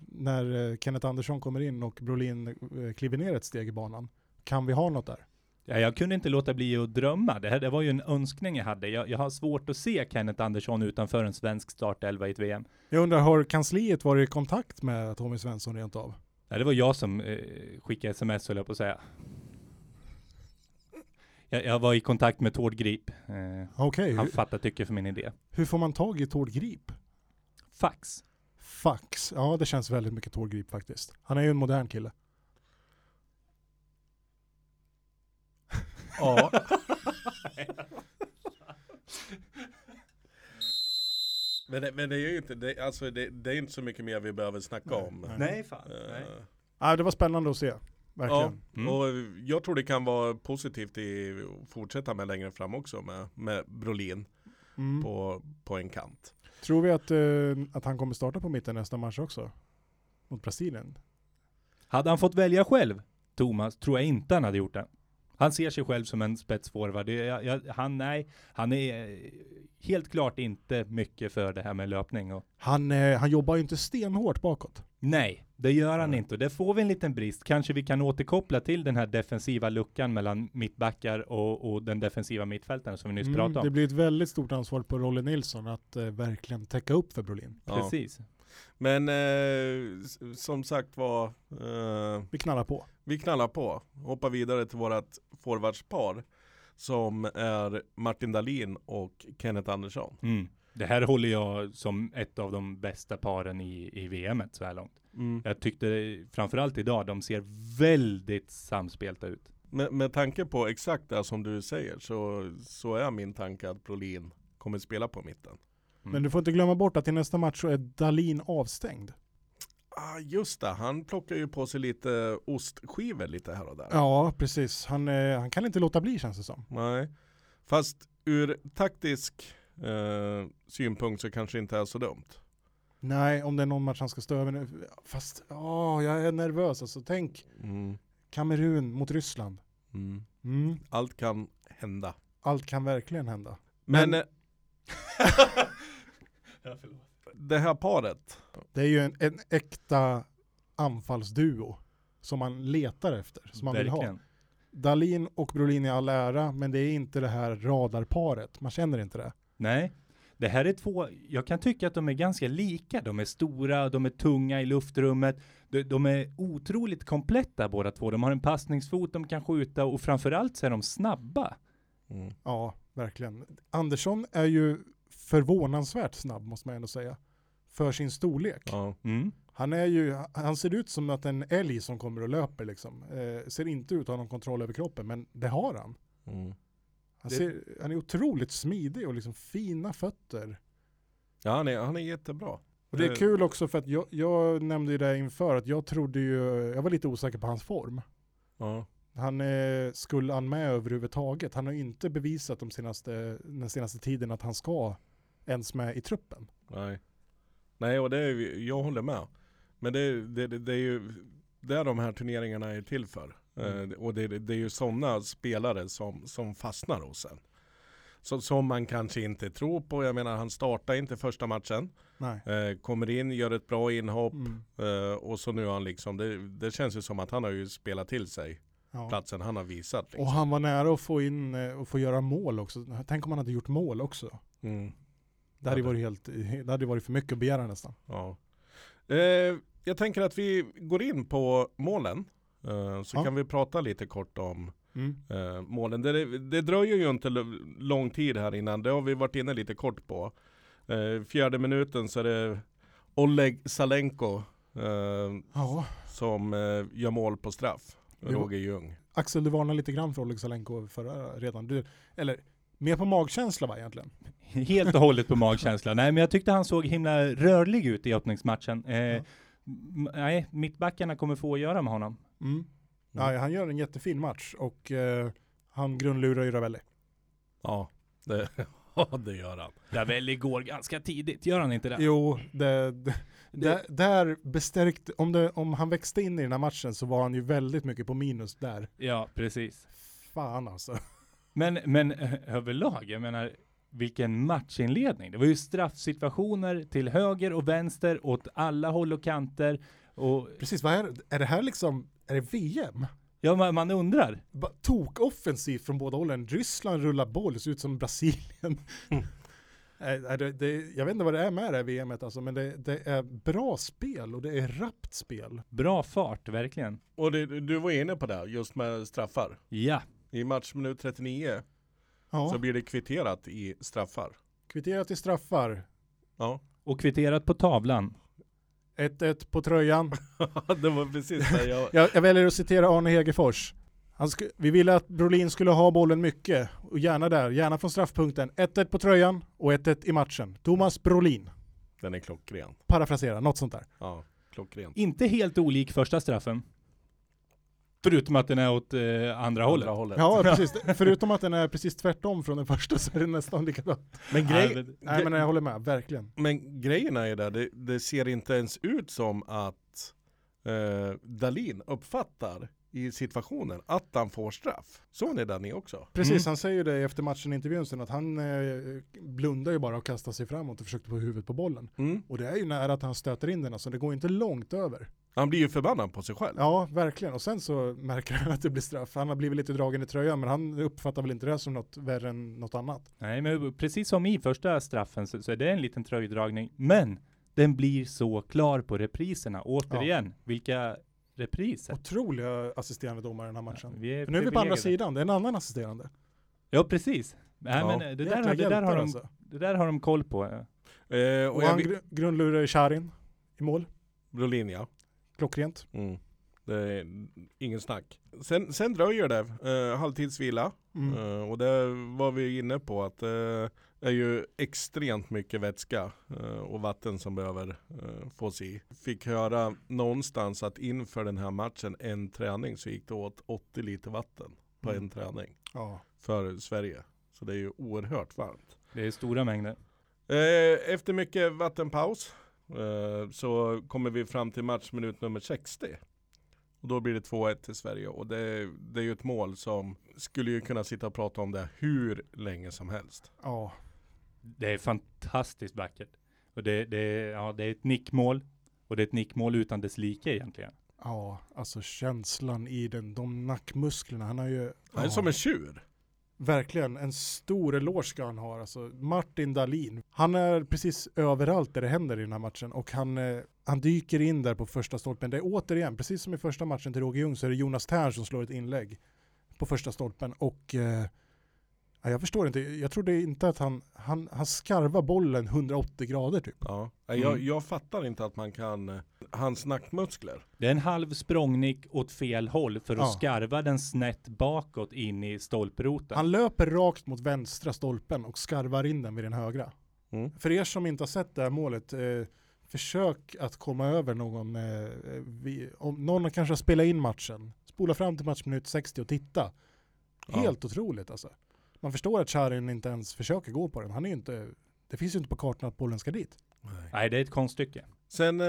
Speaker 1: när eh, Kenneth Andersson kommer in och Brolin eh, kliver ner ett steg i banan, kan vi ha något där?
Speaker 2: Ja, jag kunde inte låta bli att drömma. Det, här, det var ju en önskning jag hade. Jag, jag har svårt att se Kenneth Andersson utanför en svensk startelva i ett VM.
Speaker 1: Jag undrar, har kansliet varit i kontakt med Tommy Svensson rent av?
Speaker 2: Ja, det var jag som eh, skickade sms höll jag på att säga. Jag, jag var i kontakt med Tord Grip. Eh,
Speaker 1: Okej,
Speaker 2: han
Speaker 1: hur,
Speaker 2: fattar tycke för min idé.
Speaker 1: hur får man tag i Tord Grip?
Speaker 2: Fax.
Speaker 1: Fax, ja det känns väldigt mycket Tord Grip faktiskt. Han är ju en modern kille.
Speaker 3: Ja. men, det, men det är ju inte, det, alltså det, det är inte så mycket mer vi behöver snacka om.
Speaker 2: Nej fan.
Speaker 3: Eh,
Speaker 1: Ja, det var spännande att se,
Speaker 3: Ja,
Speaker 1: verkligen.
Speaker 2: Mm.
Speaker 3: och jag tror det kan vara positivt i att fortsätta med längre fram också med, med Brolin
Speaker 1: Mm.
Speaker 3: på, på en kant.
Speaker 1: Tror vi att, eh, att han kommer starta på mitten nästa match också? Mot Brasilien?
Speaker 2: Hade han fått välja själv, Thomas, tror jag inte han hade gjort det. Han ser sig själv som en spetsforward. Det- jag- jag- Han, nej, han är eh, helt klart inte mycket för det här med löpning. Och,
Speaker 1: Han, eh, han jobbar ju inte stenhårt bakåt.
Speaker 2: nej, det gör han
Speaker 3: Nej.
Speaker 2: inte. Och där får vi en liten brist. Kanske vi kan återkoppla till den här defensiva luckan mellan mittbackar och, och den defensiva mittfältaren som vi
Speaker 3: Mm,
Speaker 2: nyss pratade om.
Speaker 1: Mm, det blir ett väldigt stort ansvar på Rolle Nilsson att eh, verkligen täcka upp för Brolin.
Speaker 3: Ja.
Speaker 2: Precis.
Speaker 3: Men eh, s- som sagt var, eh,
Speaker 1: Vi knallar på.
Speaker 3: vi knallar på. Hoppar vidare till vårat forwardspar som är Martin Dahlin och Kenneth Andersson.
Speaker 2: Mm. Det här håller jag som ett av de bästa paren i, i VM så här långt. Jag tyckte framförallt idag, de ser väldigt samspelta ut.
Speaker 3: Med, med tanke på exakt det som du säger så, så är min tanke att Brolin kommer spela på mitten.
Speaker 2: Mm.
Speaker 1: Men du får inte glömma bort att i nästa match så är Dalin avstängd.
Speaker 3: Ah, just det, han plockar ju på sig lite ostskivor lite här och där.
Speaker 1: Ja, precis. Han, eh, han kan inte låta bli känns det som.
Speaker 3: Nej. Fast ur taktisk eh, synpunkt så kanske det inte är så dumt.
Speaker 1: Nej, om det är någon match han ska störa. men, eh, Fast åh, jag är nervös alltså. Tänk Kamerun mot Ryssland.
Speaker 3: Mm.
Speaker 1: Mm.
Speaker 3: Allt kan hända.
Speaker 1: Allt kan verkligen hända.
Speaker 3: Men,
Speaker 1: Men-
Speaker 3: eh, det här paret,
Speaker 1: Det är ju en, en äkta anfallsduo som man letar efter, som man vill ha.
Speaker 2: Verkligen.
Speaker 1: Dalin och Brolin i all ära, men det är inte det här radarparet. Man känner inte det.
Speaker 2: Nej, det här är två, jag kan tycka att de är ganska lika. De är stora, de är tunga i luftrummet. De, de är otroligt kompletta båda två. De har en passningsfot de kan skjuta och framförallt så är de snabba.
Speaker 3: Mm,
Speaker 1: Ja, verkligen. Andersson är ju förvånansvärt snabb, måste man ändå säga. För sin storlek.
Speaker 3: ja.
Speaker 2: Mm.
Speaker 1: Han, är ju, han ser ut som att en älg som kommer och löper liksom. Eh, ser inte ut att ha någon kontroll över kroppen, men det har han.
Speaker 3: mm.
Speaker 1: Han,
Speaker 2: Det-
Speaker 1: ser, han är otroligt smidig och liksom fina fötter.
Speaker 3: ja han, är, han är jättebra.
Speaker 1: Och det är
Speaker 3: Eh,
Speaker 1: kul också för att jag, jag nämnde ju det inför att jag trodde ju, jag var lite osäker på hans form.
Speaker 3: Ja.
Speaker 1: Han eh, skulle han med överhuvudtaget. Han har ju inte bevisat de senaste, den senaste tiden att han ska ens med i truppen.
Speaker 3: Nej. Nej, och det är, ju- jag håller med. Men det, det, det, det är ju det är de här turneringarna är till för. Eh, och det, det är ju sådana spelare som, som fastnar hos en. Så, som man kanske inte tror på. Jag menar, han startar inte första matchen.
Speaker 1: Nej.
Speaker 3: Eh, kommer in, gör ett bra inhopp.
Speaker 1: Mm.
Speaker 3: Eh, och så nu har han liksom, det, det känns ju som att han har ju spelat till sig
Speaker 1: Ja.
Speaker 3: platsen han har visat.
Speaker 1: Och
Speaker 3: Liksom.
Speaker 1: han var nära att få in eh, och få göra mål också. Tänk om han hade gjort mål också.
Speaker 3: Mm,
Speaker 1: Det hade ju
Speaker 3: Ja,
Speaker 1: varit, helt, eh, det hade ju varit för mycket att begära nästan.
Speaker 3: ja. eh, jag tänker att vi går in på målen. Eh, så
Speaker 1: Ja.
Speaker 3: kan vi prata lite kort om
Speaker 1: Mm.
Speaker 3: eh, målen. Det, det dröjer ju inte l- lång tid här innan, det har vi varit inne lite kort på. Eh, fjärde minuten så är det Oleg Salenko eh,
Speaker 1: Ja,
Speaker 3: som eh, gör mål på straff.
Speaker 1: Jo.
Speaker 3: Roger Ljung.
Speaker 1: Axel du varnade lite grann för Oleg Salenko förra redan. Du, eller mer på magkänsla va egentligen?
Speaker 2: Helt och hållet på magkänsla. Nej, men jag tyckte han såg himla rörlig ut i öppningsmatchen. Eh,
Speaker 1: Ja.
Speaker 2: m- Nej, mittbackarna kommer få att göra med honom.
Speaker 1: Mm. Nej, han gör en jättefin match och eh, han grundlurar ju Ravelli.
Speaker 3: Ja, det, ja, det gör han.
Speaker 2: Ravelli går ganska tidigt, gör han inte det?
Speaker 1: Jo, det, det, där- där bestärkt, om, det, om han växte in i den här matchen så var han ju väldigt mycket på minus där.
Speaker 2: Ja, precis.
Speaker 1: Fan alltså.
Speaker 2: Men, men eh, överlag, jag menar, vilken matchinledning. Det var ju straffsituationer till höger och vänster, åt alla håll och kanter. Och,
Speaker 1: Precis, vad är det? Är det här liksom, är det VM?
Speaker 2: ja, man, man undrar.
Speaker 1: Ba- Tokoffensivt från båda hållen. Ryssland rullar boll, ser ut som Brasilien. Eh, eh, det, det, jag vet inte vad det är med det här VMet alltså, men det, det är bra spel och det är rappt spel.
Speaker 2: Bra fart, verkligen.
Speaker 3: Och det, du var inne på det, just med straffar.
Speaker 2: Ja,
Speaker 3: I matchminut 39
Speaker 1: Ja,
Speaker 3: så blir det kvitterat i straffar.
Speaker 1: kvitterat till straffar.
Speaker 3: Ja,
Speaker 2: och kvitterat på tavlan.
Speaker 1: 1-1 på tröjan.
Speaker 3: det var precis det jag...
Speaker 1: Jag, jag väljer att citera Arne Hegerfors. Han sku, vi ville att Brolin skulle ha bollen mycket, och gärna där, gärna från straffpunkten. 1-1 på tröjan och 1-1 i matchen. Thomas Brolin,
Speaker 3: Den är klockren.
Speaker 1: parafrasera, något sånt där.
Speaker 3: Ja, klockren.
Speaker 2: Inte helt olik första straffen. Förutom att den är åt eh, andra hållet.
Speaker 3: Andra hållet.
Speaker 1: Ja, precis. Förutom att den är precis tvärtom från den första så är den nästan likadan.
Speaker 3: Men grej,
Speaker 2: Ja, men-
Speaker 1: Nej men jag håller med, verkligen.
Speaker 3: Men grejen är ju där, det, det ser inte ens ut som att eh, Dalin uppfattar i situationen att han får straff. Såg ni där ni också?
Speaker 1: Precis,
Speaker 2: Mm.
Speaker 1: han säger ju det efter matchen i intervjun sen att han eh, blundar ju bara och kastar sig framåt och försökte få huvudet på bollen.
Speaker 3: Mm.
Speaker 1: Och det är ju nära att han stöter in den alltså, det går inte långt över.
Speaker 3: Han blir ju förbannad på sig själv.
Speaker 1: Ja, verkligen. Och sen så märker han att det blir straff. Han har blivit lite dragen i tröjan, men han uppfattar väl inte det som något värre än något annat.
Speaker 2: Nej, men precis som i första straffen så, så är det en liten tröjdragning, men den blir så klar på repriserna. Återigen, vilka repriser?
Speaker 1: Otroliga assisterande domare i den här matchen.
Speaker 2: Vi är
Speaker 1: Nu är vi på andra
Speaker 2: privilegierade.
Speaker 1: sidan, det är en annan assisterande.
Speaker 2: Ja, precis. Nej,
Speaker 3: Ja.
Speaker 2: men eh, det, där,
Speaker 1: Jäkla
Speaker 2: har- det, där
Speaker 1: hjältar
Speaker 2: har de,
Speaker 1: alltså.
Speaker 2: det där har de koll på. eh.
Speaker 3: Eh, och
Speaker 1: Och
Speaker 3: jag
Speaker 1: han
Speaker 3: vet-
Speaker 1: gr- grundlurar Charin i mål,
Speaker 3: Brolin ja.
Speaker 1: klockrent.
Speaker 3: Mm. Det är ingen snack. Sen, sen dröjer det, eh, halvtidsvila.
Speaker 1: Mm.
Speaker 3: Eh, och det var vi inne på att det är ju extremt mycket vätska eh, och vatten som behöver eh, fås i. Fick höra någonstans att inför den här matchen, en träning, så gick det åt 80 liter vatten på
Speaker 1: Mm.
Speaker 3: en träning
Speaker 1: Ja.
Speaker 3: för Sverige. Så det är ju oerhört varmt.
Speaker 2: Det är stora mängder.
Speaker 3: Eh, efter mycket vattenpaus eh, så kommer vi fram till matchminut nummer 60. Och då blir det 2-1 till Sverige och det, det är ju ett mål som skulle ju kunna sitta och prata om det hur länge som helst.
Speaker 1: ja.
Speaker 2: Det är fantastiskt vackert. Och det, det, ja, det är ett nickmål. Och det är ett nickmål utan dess like egentligen.
Speaker 1: Ja, alltså känslan i den, de nackmusklerna. Han har ju...
Speaker 3: Han är
Speaker 1: ja.
Speaker 3: som en tjur.
Speaker 1: Verkligen, en stor eloge ska han ha. Alltså, Martin Dahlin, han är precis överallt där det händer i den här matchen och han, eh, han dyker in där på första stolpen. Det är återigen, precis som i första matchen till Roger Ljung så är det Jonas Tern som slår ett inlägg på första stolpen och eh, ja, jag förstår inte, jag trodde inte att han, han, han skarvar bollen 180 grader typ.
Speaker 3: Ja. Jag,
Speaker 2: Mm.
Speaker 3: jag fattar inte att man kan eh, hans nackmuskler.
Speaker 2: Det är en halv språngnick åt fel håll för att
Speaker 1: Ja.
Speaker 2: skarva den snett bakåt in i stolproten.
Speaker 1: Han löper rakt mot vänstra stolpen och skarvar in den vid den högra.
Speaker 3: Mm.
Speaker 1: För er som inte har sett det här målet, eh, försök att komma över någon, eh, vi, om någon kanske har spelat in matchen, spola fram till matchminut 60 och titta.
Speaker 3: Ja.
Speaker 1: Helt otroligt alltså. Man förstår att Charin inte ens försöker gå på den, han är ju inte, det finns ju inte på kartan att bollen ska dit.
Speaker 2: Nej, det är ett konststycke.
Speaker 3: Sen eh,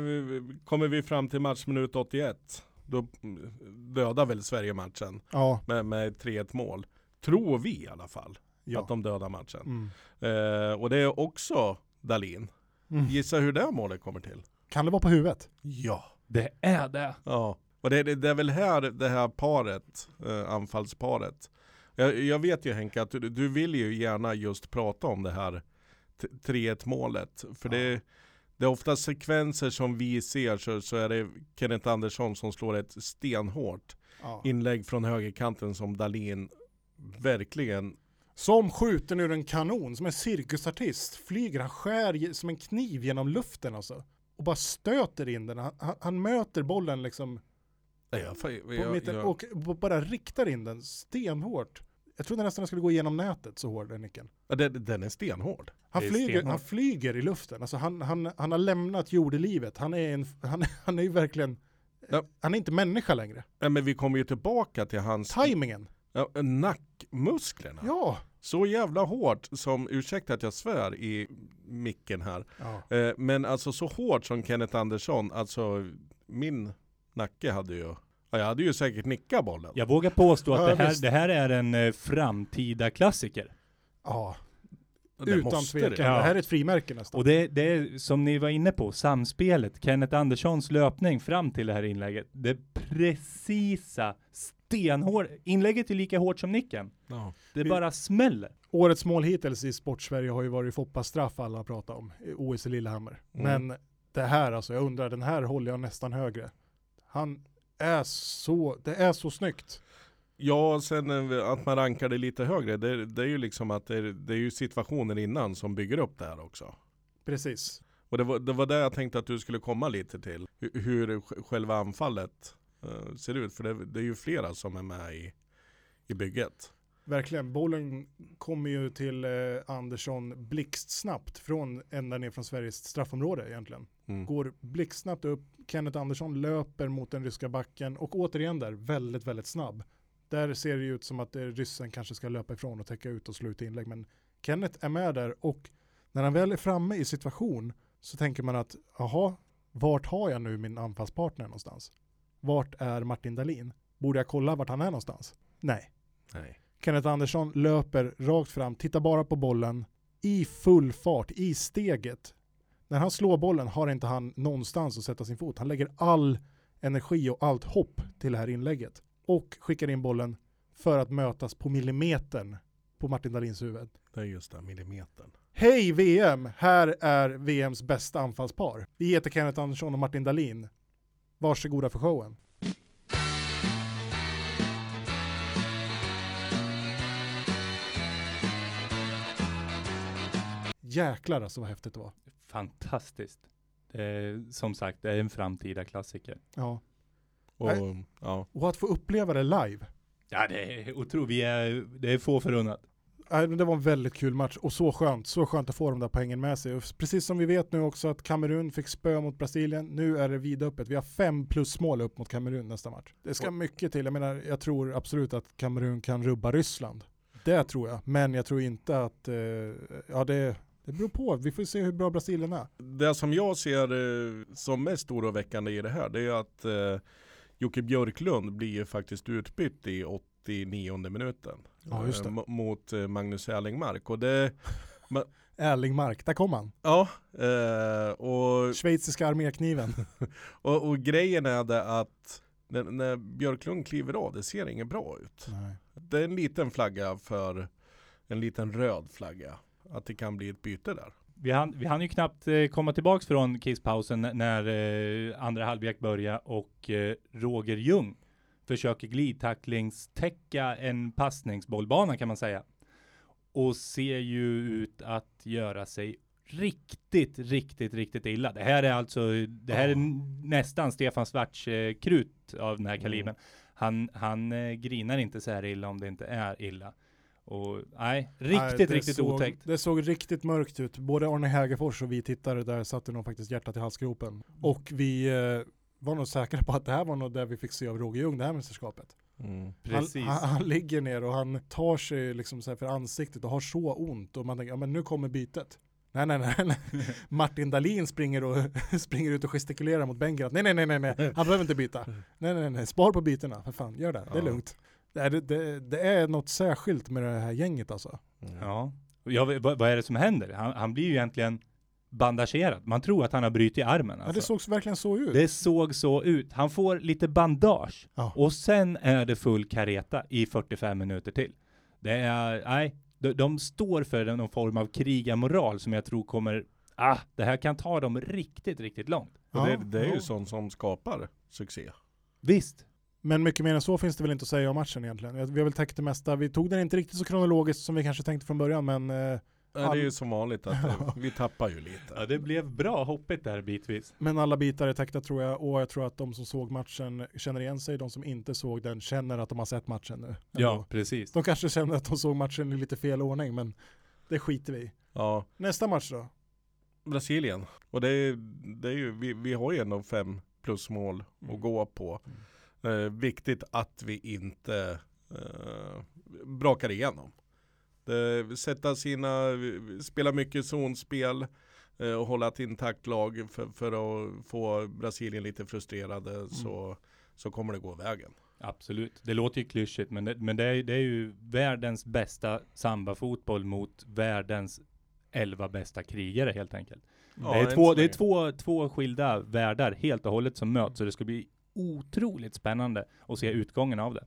Speaker 3: vi- vi- kommer vi fram till matchminut 81. Då mm, dödar väl Sverige matchen
Speaker 1: Ja,
Speaker 3: med, med 3-1 mål. Tror vi i alla fall att
Speaker 1: ja.
Speaker 3: de dödar matchen.
Speaker 1: Mm.
Speaker 3: Eh, och det är också Dalin.
Speaker 1: Mm.
Speaker 3: Gissa hur det målet kommer till?
Speaker 1: Kan det vara på huvudet?
Speaker 3: Ja.
Speaker 2: Det är det.
Speaker 3: Ja, och det, det, det är väl här det här paret, eh, anfallsparet. Jag, jag vet ju Henke att du, du vill ju gärna just prata om det här t- 3-1 målet. För det, det är ofta sekvenser som vi ser så, så är det Kenneth Andersson som slår ett stenhårt
Speaker 1: Ja.
Speaker 3: inlägg från högerkanten som Dalin verkligen
Speaker 1: Som skjuten ur en kanon, som en cirkusartist. Flyger, han skär ge- som en kniv genom luften alltså. Och bara stöter in den. Han, han- han möter bollen liksom
Speaker 3: Nej, jag, jag,
Speaker 1: på
Speaker 3: jag,
Speaker 1: mitten
Speaker 3: jag,
Speaker 1: och b- bara riktar in den stenhårt. Jag trodde nästan den skulle gå igenom nätet så hård den nicken.
Speaker 3: Ja, den, den är stenhård.
Speaker 1: Han
Speaker 2: Det är
Speaker 1: flyger,
Speaker 2: stenhårt.
Speaker 1: han flyger i luften, alltså han, han, han har lämnat jordelivet. Han är, en, han, han är ju verkligen,
Speaker 3: Ja.
Speaker 1: han är inte människa längre.
Speaker 3: Nej, men vi kommer ju tillbaka till hans
Speaker 1: Timingen,
Speaker 3: ja, nackmusklerna.
Speaker 1: ja.
Speaker 3: Så jävla hårt som, ursäkta att jag svär i micken här,
Speaker 1: ja.
Speaker 3: eh, men alltså så hårt som Kenneth Andersson, alltså min nacke hade ju, ja, jag hade ju säkert nickat bollen.
Speaker 2: Jag vågar påstå att
Speaker 1: Ja,
Speaker 2: det, här,
Speaker 1: visst.
Speaker 2: det här är en eh, framtida klassiker.
Speaker 1: ja.
Speaker 3: Det
Speaker 1: Utan
Speaker 3: måste
Speaker 1: tvekan, det.
Speaker 3: det.
Speaker 2: Ja.
Speaker 1: här är ett frimärke nästan.
Speaker 2: Och det, det är som ni var inne på, samspelet. Kenneth Anderssons löpning fram till det här inlägget. Det precisa, stenhård. Inlägget är lika hårt som nicken.
Speaker 3: Ja.
Speaker 2: Det bara smäller.
Speaker 1: Årets mål hittills i Sportsverige har ju varit Foppas straff alla har pratat om, i OS i Lillehammer.
Speaker 3: Mm.
Speaker 1: Men det här alltså, jag undrar, den här håller jag nästan högre. Han är så, det är så snyggt.
Speaker 3: Ja, sen eh, att man rankar det lite högre, det, det är ju liksom att det, är- det är ju situationen innan som bygger upp det här också.
Speaker 1: Precis.
Speaker 3: Och det var det, var det jag tänkte att du skulle komma lite till, hur, hur sj- själva anfallet eh, ser ut, för det, det är ju flera som är med i, i bygget.
Speaker 1: Verkligen, bollen kommer ju till eh, Andersson blixtsnabbt från ända ner från Sveriges straffområde egentligen.
Speaker 3: Mm.
Speaker 1: Går blixtsnabbt upp, Kenneth Andersson löper mot den ryska backen och återigen där, väldigt, väldigt snabb. Där ser det ju ut som att eh, ryssen kanske ska löpa ifrån och täcka ut och sluta inlägg, men Kenneth är med där och när han väl är framme i situation så tänker man att, jaha, vart har jag nu min anfallspartner någonstans? Vart är Martin Dahlin? Borde jag kolla vart han är någonstans? Nej.
Speaker 3: Nej.
Speaker 1: Kenneth Andersson löper rakt fram, tittar bara på bollen i full fart, i steget. När han slår bollen har inte han någonstans att sätta sin fot. Han lägger all energi och allt hopp till det här inlägget och skickar in bollen för att mötas på millimetern på Martin Dahlins huvud.
Speaker 3: Det är just den millimetern.
Speaker 1: Hej VM! Här är VMs bästa anfallspar. Vi heter Kenneth Andersson och Martin Dahlin. Varsågoda för showen. Jäklar alltså vad häftigt det var.
Speaker 2: Fantastiskt. Det är, som sagt, det är en framtida klassiker.
Speaker 1: Ja.
Speaker 3: Och,
Speaker 1: Nej.
Speaker 3: ja.
Speaker 1: Och att få uppleva det live.
Speaker 2: Ja, det är otroligt. Vi är, det är få förunnat.
Speaker 1: Nej, men Det var en väldigt kul match och så skönt, så skönt att få de där poängen med sig. Och precis som vi vet nu också att Kamerun fick spö mot Brasilien, nu är det vidöppet. Vi har fem plus mål upp mot Kamerun nästa match. Det ska mycket till, jag menar jag tror absolut att Kamerun kan rubba Ryssland. Det tror jag, men jag tror inte att, eh, ja det, det beror på, vi får se hur bra Brasilien är.
Speaker 3: Det som jag ser eh, som mest oroväckande i det här, det är att eh, Jocke Björklund blir ju faktiskt utbytt i 89 minuten.
Speaker 1: Ja, just det.
Speaker 3: Eh, mo- mot eh, Magnus Erlingmark. Och det,
Speaker 1: Erlingmark, där kom han.
Speaker 3: ja, eh, och,
Speaker 1: Schweiziska armékniven.
Speaker 3: och, och grejen är det att när, när Björklund kliver av, det ser inget bra ut.
Speaker 1: Nej.
Speaker 3: Det är en liten flagga för, en liten röd flagga. Att det kan bli ett byte där.
Speaker 2: Vi hann, vi hann ju knappt eh, komma tillbaks från kisspausen n- när eh, andra halvlek började och eh, Roger Ljung försöker glidtacklingstäcka en passningsbollbana kan man säga. Och ser ju ut att göra sig riktigt, riktigt, riktigt illa. Det här är alltså, det här är n- nästan Stefan Svarts eh, krut av
Speaker 1: Mm.
Speaker 2: den här kalibern. Han, han eh, grinar inte så här illa om det inte är illa. Och nej, riktigt,
Speaker 1: Nej, det
Speaker 2: riktigt
Speaker 1: såg,
Speaker 2: otäckt.
Speaker 1: Det såg riktigt mörkt ut. Både Arne Hägerfors och vi tittare där satte nog faktiskt hjärtat i
Speaker 2: Mm.
Speaker 1: halsgropen. Och vi eh, var nog säkra på att det här var nog där vi fick se av Roger Ljung det här mästerskapet. Han,
Speaker 2: Precis.
Speaker 1: han, han ligger ner och han tar sig liksom så här för ansiktet och har så ont och man tänker, ja men nu kommer bytet. Nej, nej, nej. nej. Martin Dahlin springer, och springer ut och gestikulerar mot bänken. Att, nej, nej, nej, nej, nej. Han behöver inte byta. Nej, nej, nej. Spar på bytena. För fan, gör det. Det är
Speaker 3: Ja.
Speaker 1: lugnt. Det är, det, det är något särskilt med det här gänget alltså.
Speaker 2: Ja. Och Jag, vet- vad, vad är det som händer? Han, han blir ju egentligen bandagerad. Man tror att han har brutit armen.
Speaker 1: Ja, det
Speaker 2: Alltså.
Speaker 1: såg verkligen så ut.
Speaker 2: Det såg så ut. Han får lite bandage
Speaker 1: Ja.
Speaker 2: och sen är det full kareta i 45 minuter till. Det är, nej, de, de står för någon form av krigarmoral som jag tror kommer, ah, det här kan ta dem riktigt, riktigt långt.
Speaker 1: Ja.
Speaker 3: Och det, det är
Speaker 1: Ja.
Speaker 3: ju sånt som skapar succé.
Speaker 2: Visst,
Speaker 1: Men mycket mer än så finns det väl inte att säga om matchen egentligen. Jag- Vi har väl täckt det mesta. Vi tog den inte riktigt så kronologiskt som vi kanske tänkte från början, men eh,
Speaker 3: Nej, Det är ju som vanligt att eh, vi tappar ju lite.
Speaker 2: ja, det blev bra hoppigt där bitvis.
Speaker 1: Men alla bitar är täckta tror jag och jag tror att de som såg matchen känner igen sig. De som inte såg den känner att de har sett matchen nu.
Speaker 2: Ja, precis.
Speaker 1: De kanske känner att de såg matchen i lite fel ordning men det skiter vi i.
Speaker 3: Ja,
Speaker 1: Nästa match då?
Speaker 3: Brasilien. Och det är, det är ju, vi, vi har ju ändå fem plus mål
Speaker 2: Mm.
Speaker 3: att gå på. Eh, viktigt att vi inte eh, brakar igenom. Det, sätta sina, spela mycket zonspel eh, och hålla ett intakt lag för, för att få Brasilien lite frustrerade
Speaker 2: Mm.
Speaker 3: så, så kommer det gå vägen.
Speaker 2: Absolut. Det låter ju klyschigt, men det, men det, är, det är ju världens bästa samba-fotboll mot världens elva bästa krigare helt enkelt.
Speaker 3: Ja,
Speaker 2: det
Speaker 3: än
Speaker 2: är,
Speaker 3: så
Speaker 2: två, det är
Speaker 3: länge.
Speaker 2: två, två skilda världar helt och hållet som möts, så det ska bli otroligt spännande att se utgången av det.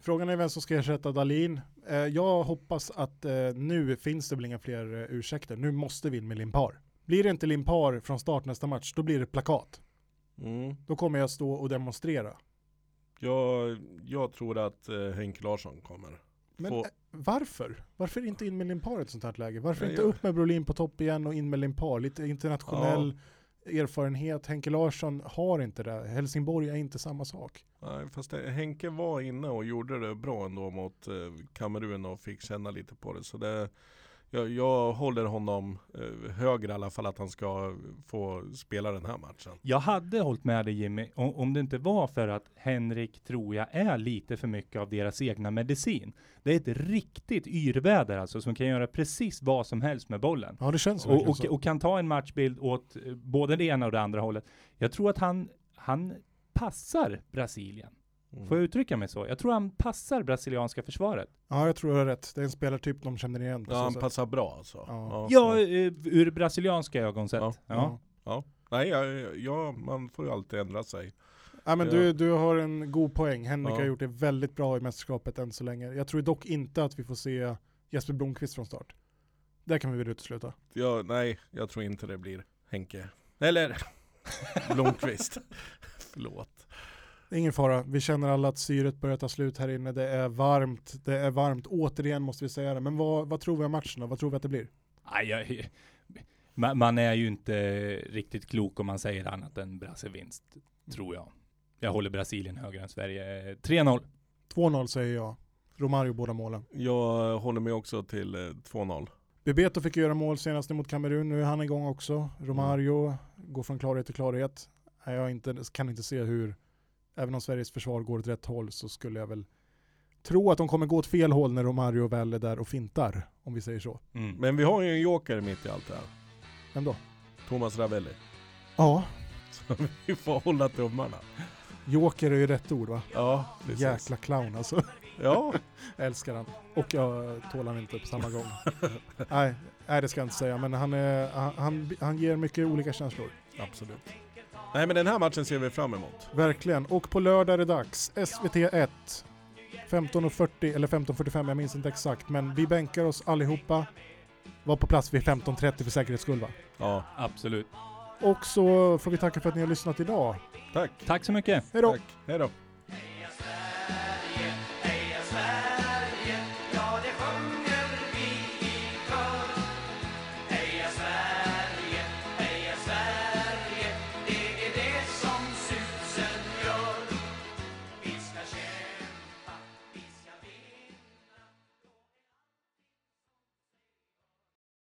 Speaker 1: Frågan är vem som ska ersätta Dalin. Eh, jag hoppas att eh, nu finns det väl inga fler eh, ursäkter. Nu måste vi in med Limpar. Blir det inte Limpar från start nästa match, då blir det plakat.
Speaker 3: Mm.
Speaker 1: Då kommer jag stå och demonstrera.
Speaker 3: Jag, jag tror att eh, Henke Larsson kommer.
Speaker 1: Men
Speaker 3: Få-
Speaker 1: eh, varför? Varför inte in med Limpar i ett sånt här läge? Varför
Speaker 3: Nej,
Speaker 1: inte
Speaker 3: jag-
Speaker 1: upp med Brolin på topp igen och in med Limpar? Lite internationell erfarenhet. Henke Larsson har inte det. Helsingborg är inte samma sak.
Speaker 3: Nej, fast det, Henke var inne och gjorde det bra ändå mot eh, Kamerun och fick känna lite på det. Så det, jag, jag håller honom eh, högre i alla fall att han ska få spela den här matchen.
Speaker 2: Jag hade hållit med dig Jimmy, om, om det inte var för att Henrik tror jag är lite för mycket av deras egna medicin. Det är ett riktigt yrväder alltså, som kan göra precis vad som helst med bollen.
Speaker 1: Ja, det känns
Speaker 2: och,
Speaker 1: verkligen
Speaker 2: och,
Speaker 1: så.
Speaker 2: och kan ta en matchbild åt eh, både det ena och det andra hållet. Jag tror att han, han passar Brasilien.
Speaker 3: Mm.
Speaker 2: Får
Speaker 1: Mm.
Speaker 2: jag uttrycka mig så? Jag tror han passar brasilianska försvaret.
Speaker 1: Ja, jag tror du har rätt. Det är en spelartyp de känner igen. på
Speaker 3: Ja,
Speaker 1: så
Speaker 3: han
Speaker 1: sätt.
Speaker 3: passar bra alltså.
Speaker 1: Ja.
Speaker 2: Ja, eh, ur brasilianska ögon sett.
Speaker 3: Ja.
Speaker 2: Ja.
Speaker 1: Ja. Mm.
Speaker 3: Nej, jag, jag, man får ju alltid ändra sig.
Speaker 1: Ja, men
Speaker 3: Ja.
Speaker 1: du, du har en god poäng. Henrik
Speaker 3: Ja.
Speaker 1: har gjort det väldigt bra i mästerskapet än så länge. Jag tror dock inte att vi får se Jesper Blomqvist från start. Där kan vi väl utesluta.
Speaker 3: Jag, nej, jag tror inte det blir Henke. Eller Blomqvist. Förlåt.
Speaker 1: Det är Ingen fara, vi känner alla att syret börjar ta slut här inne. Det är varmt, det är varmt. Återigen måste vi säga det. Men vad, vad tror vi om matchen då? Vad tror vi att det blir?
Speaker 2: Aj, aj. Man, man är ju inte riktigt klok om man säger annat än Brasse-vinst, tror jag. Jag håller Brasilien högre än Sverige. Eh, 3-0.
Speaker 1: 2-0 säger jag. Romario båda målen.
Speaker 3: Jag håller mig också till eh, 2-0.
Speaker 1: Bebeto fick göra mål senast mot Kamerun, nu är han igång också. Romario
Speaker 3: Mm.
Speaker 1: går från klarhet till klarhet. Nej, Jag är inte, kan inte se hur, även om Sveriges försvar går åt rätt håll så skulle jag väl tro att de kommer gå åt fel håll när Romario väl är där och fintar, om vi säger så.
Speaker 2: Mm.
Speaker 3: Men vi har ju en joker mitt i allt det här.
Speaker 1: Vem då?
Speaker 3: Thomas Ravelli.
Speaker 1: Ja,
Speaker 3: Vi får hålla tummarna.
Speaker 1: joker är ju rätt ord va?
Speaker 3: Ja, precis.
Speaker 1: Jäkla clown alltså.
Speaker 3: Ja,
Speaker 1: Jag älskar han. Och jag tål han inte på samma gång. nej, nej, det ska jag inte säga, men han, är, han, han, han ger mycket olika känslor.
Speaker 3: absolut. Nej men den här matchen ser vi fram emot.
Speaker 1: Verkligen. Och på lördag är det dags. SVT1. 15.40 eller 15.45, jag minns inte exakt. Men vi bänkar oss allihopa. Var på plats vid 15.30 för säkerhets skull va?
Speaker 3: Ja,
Speaker 2: Absolut.
Speaker 1: Och så får vi tacka för att ni har lyssnat idag.
Speaker 3: tack.
Speaker 2: Tack så mycket.
Speaker 1: Hej då!
Speaker 3: Tack. Hej då.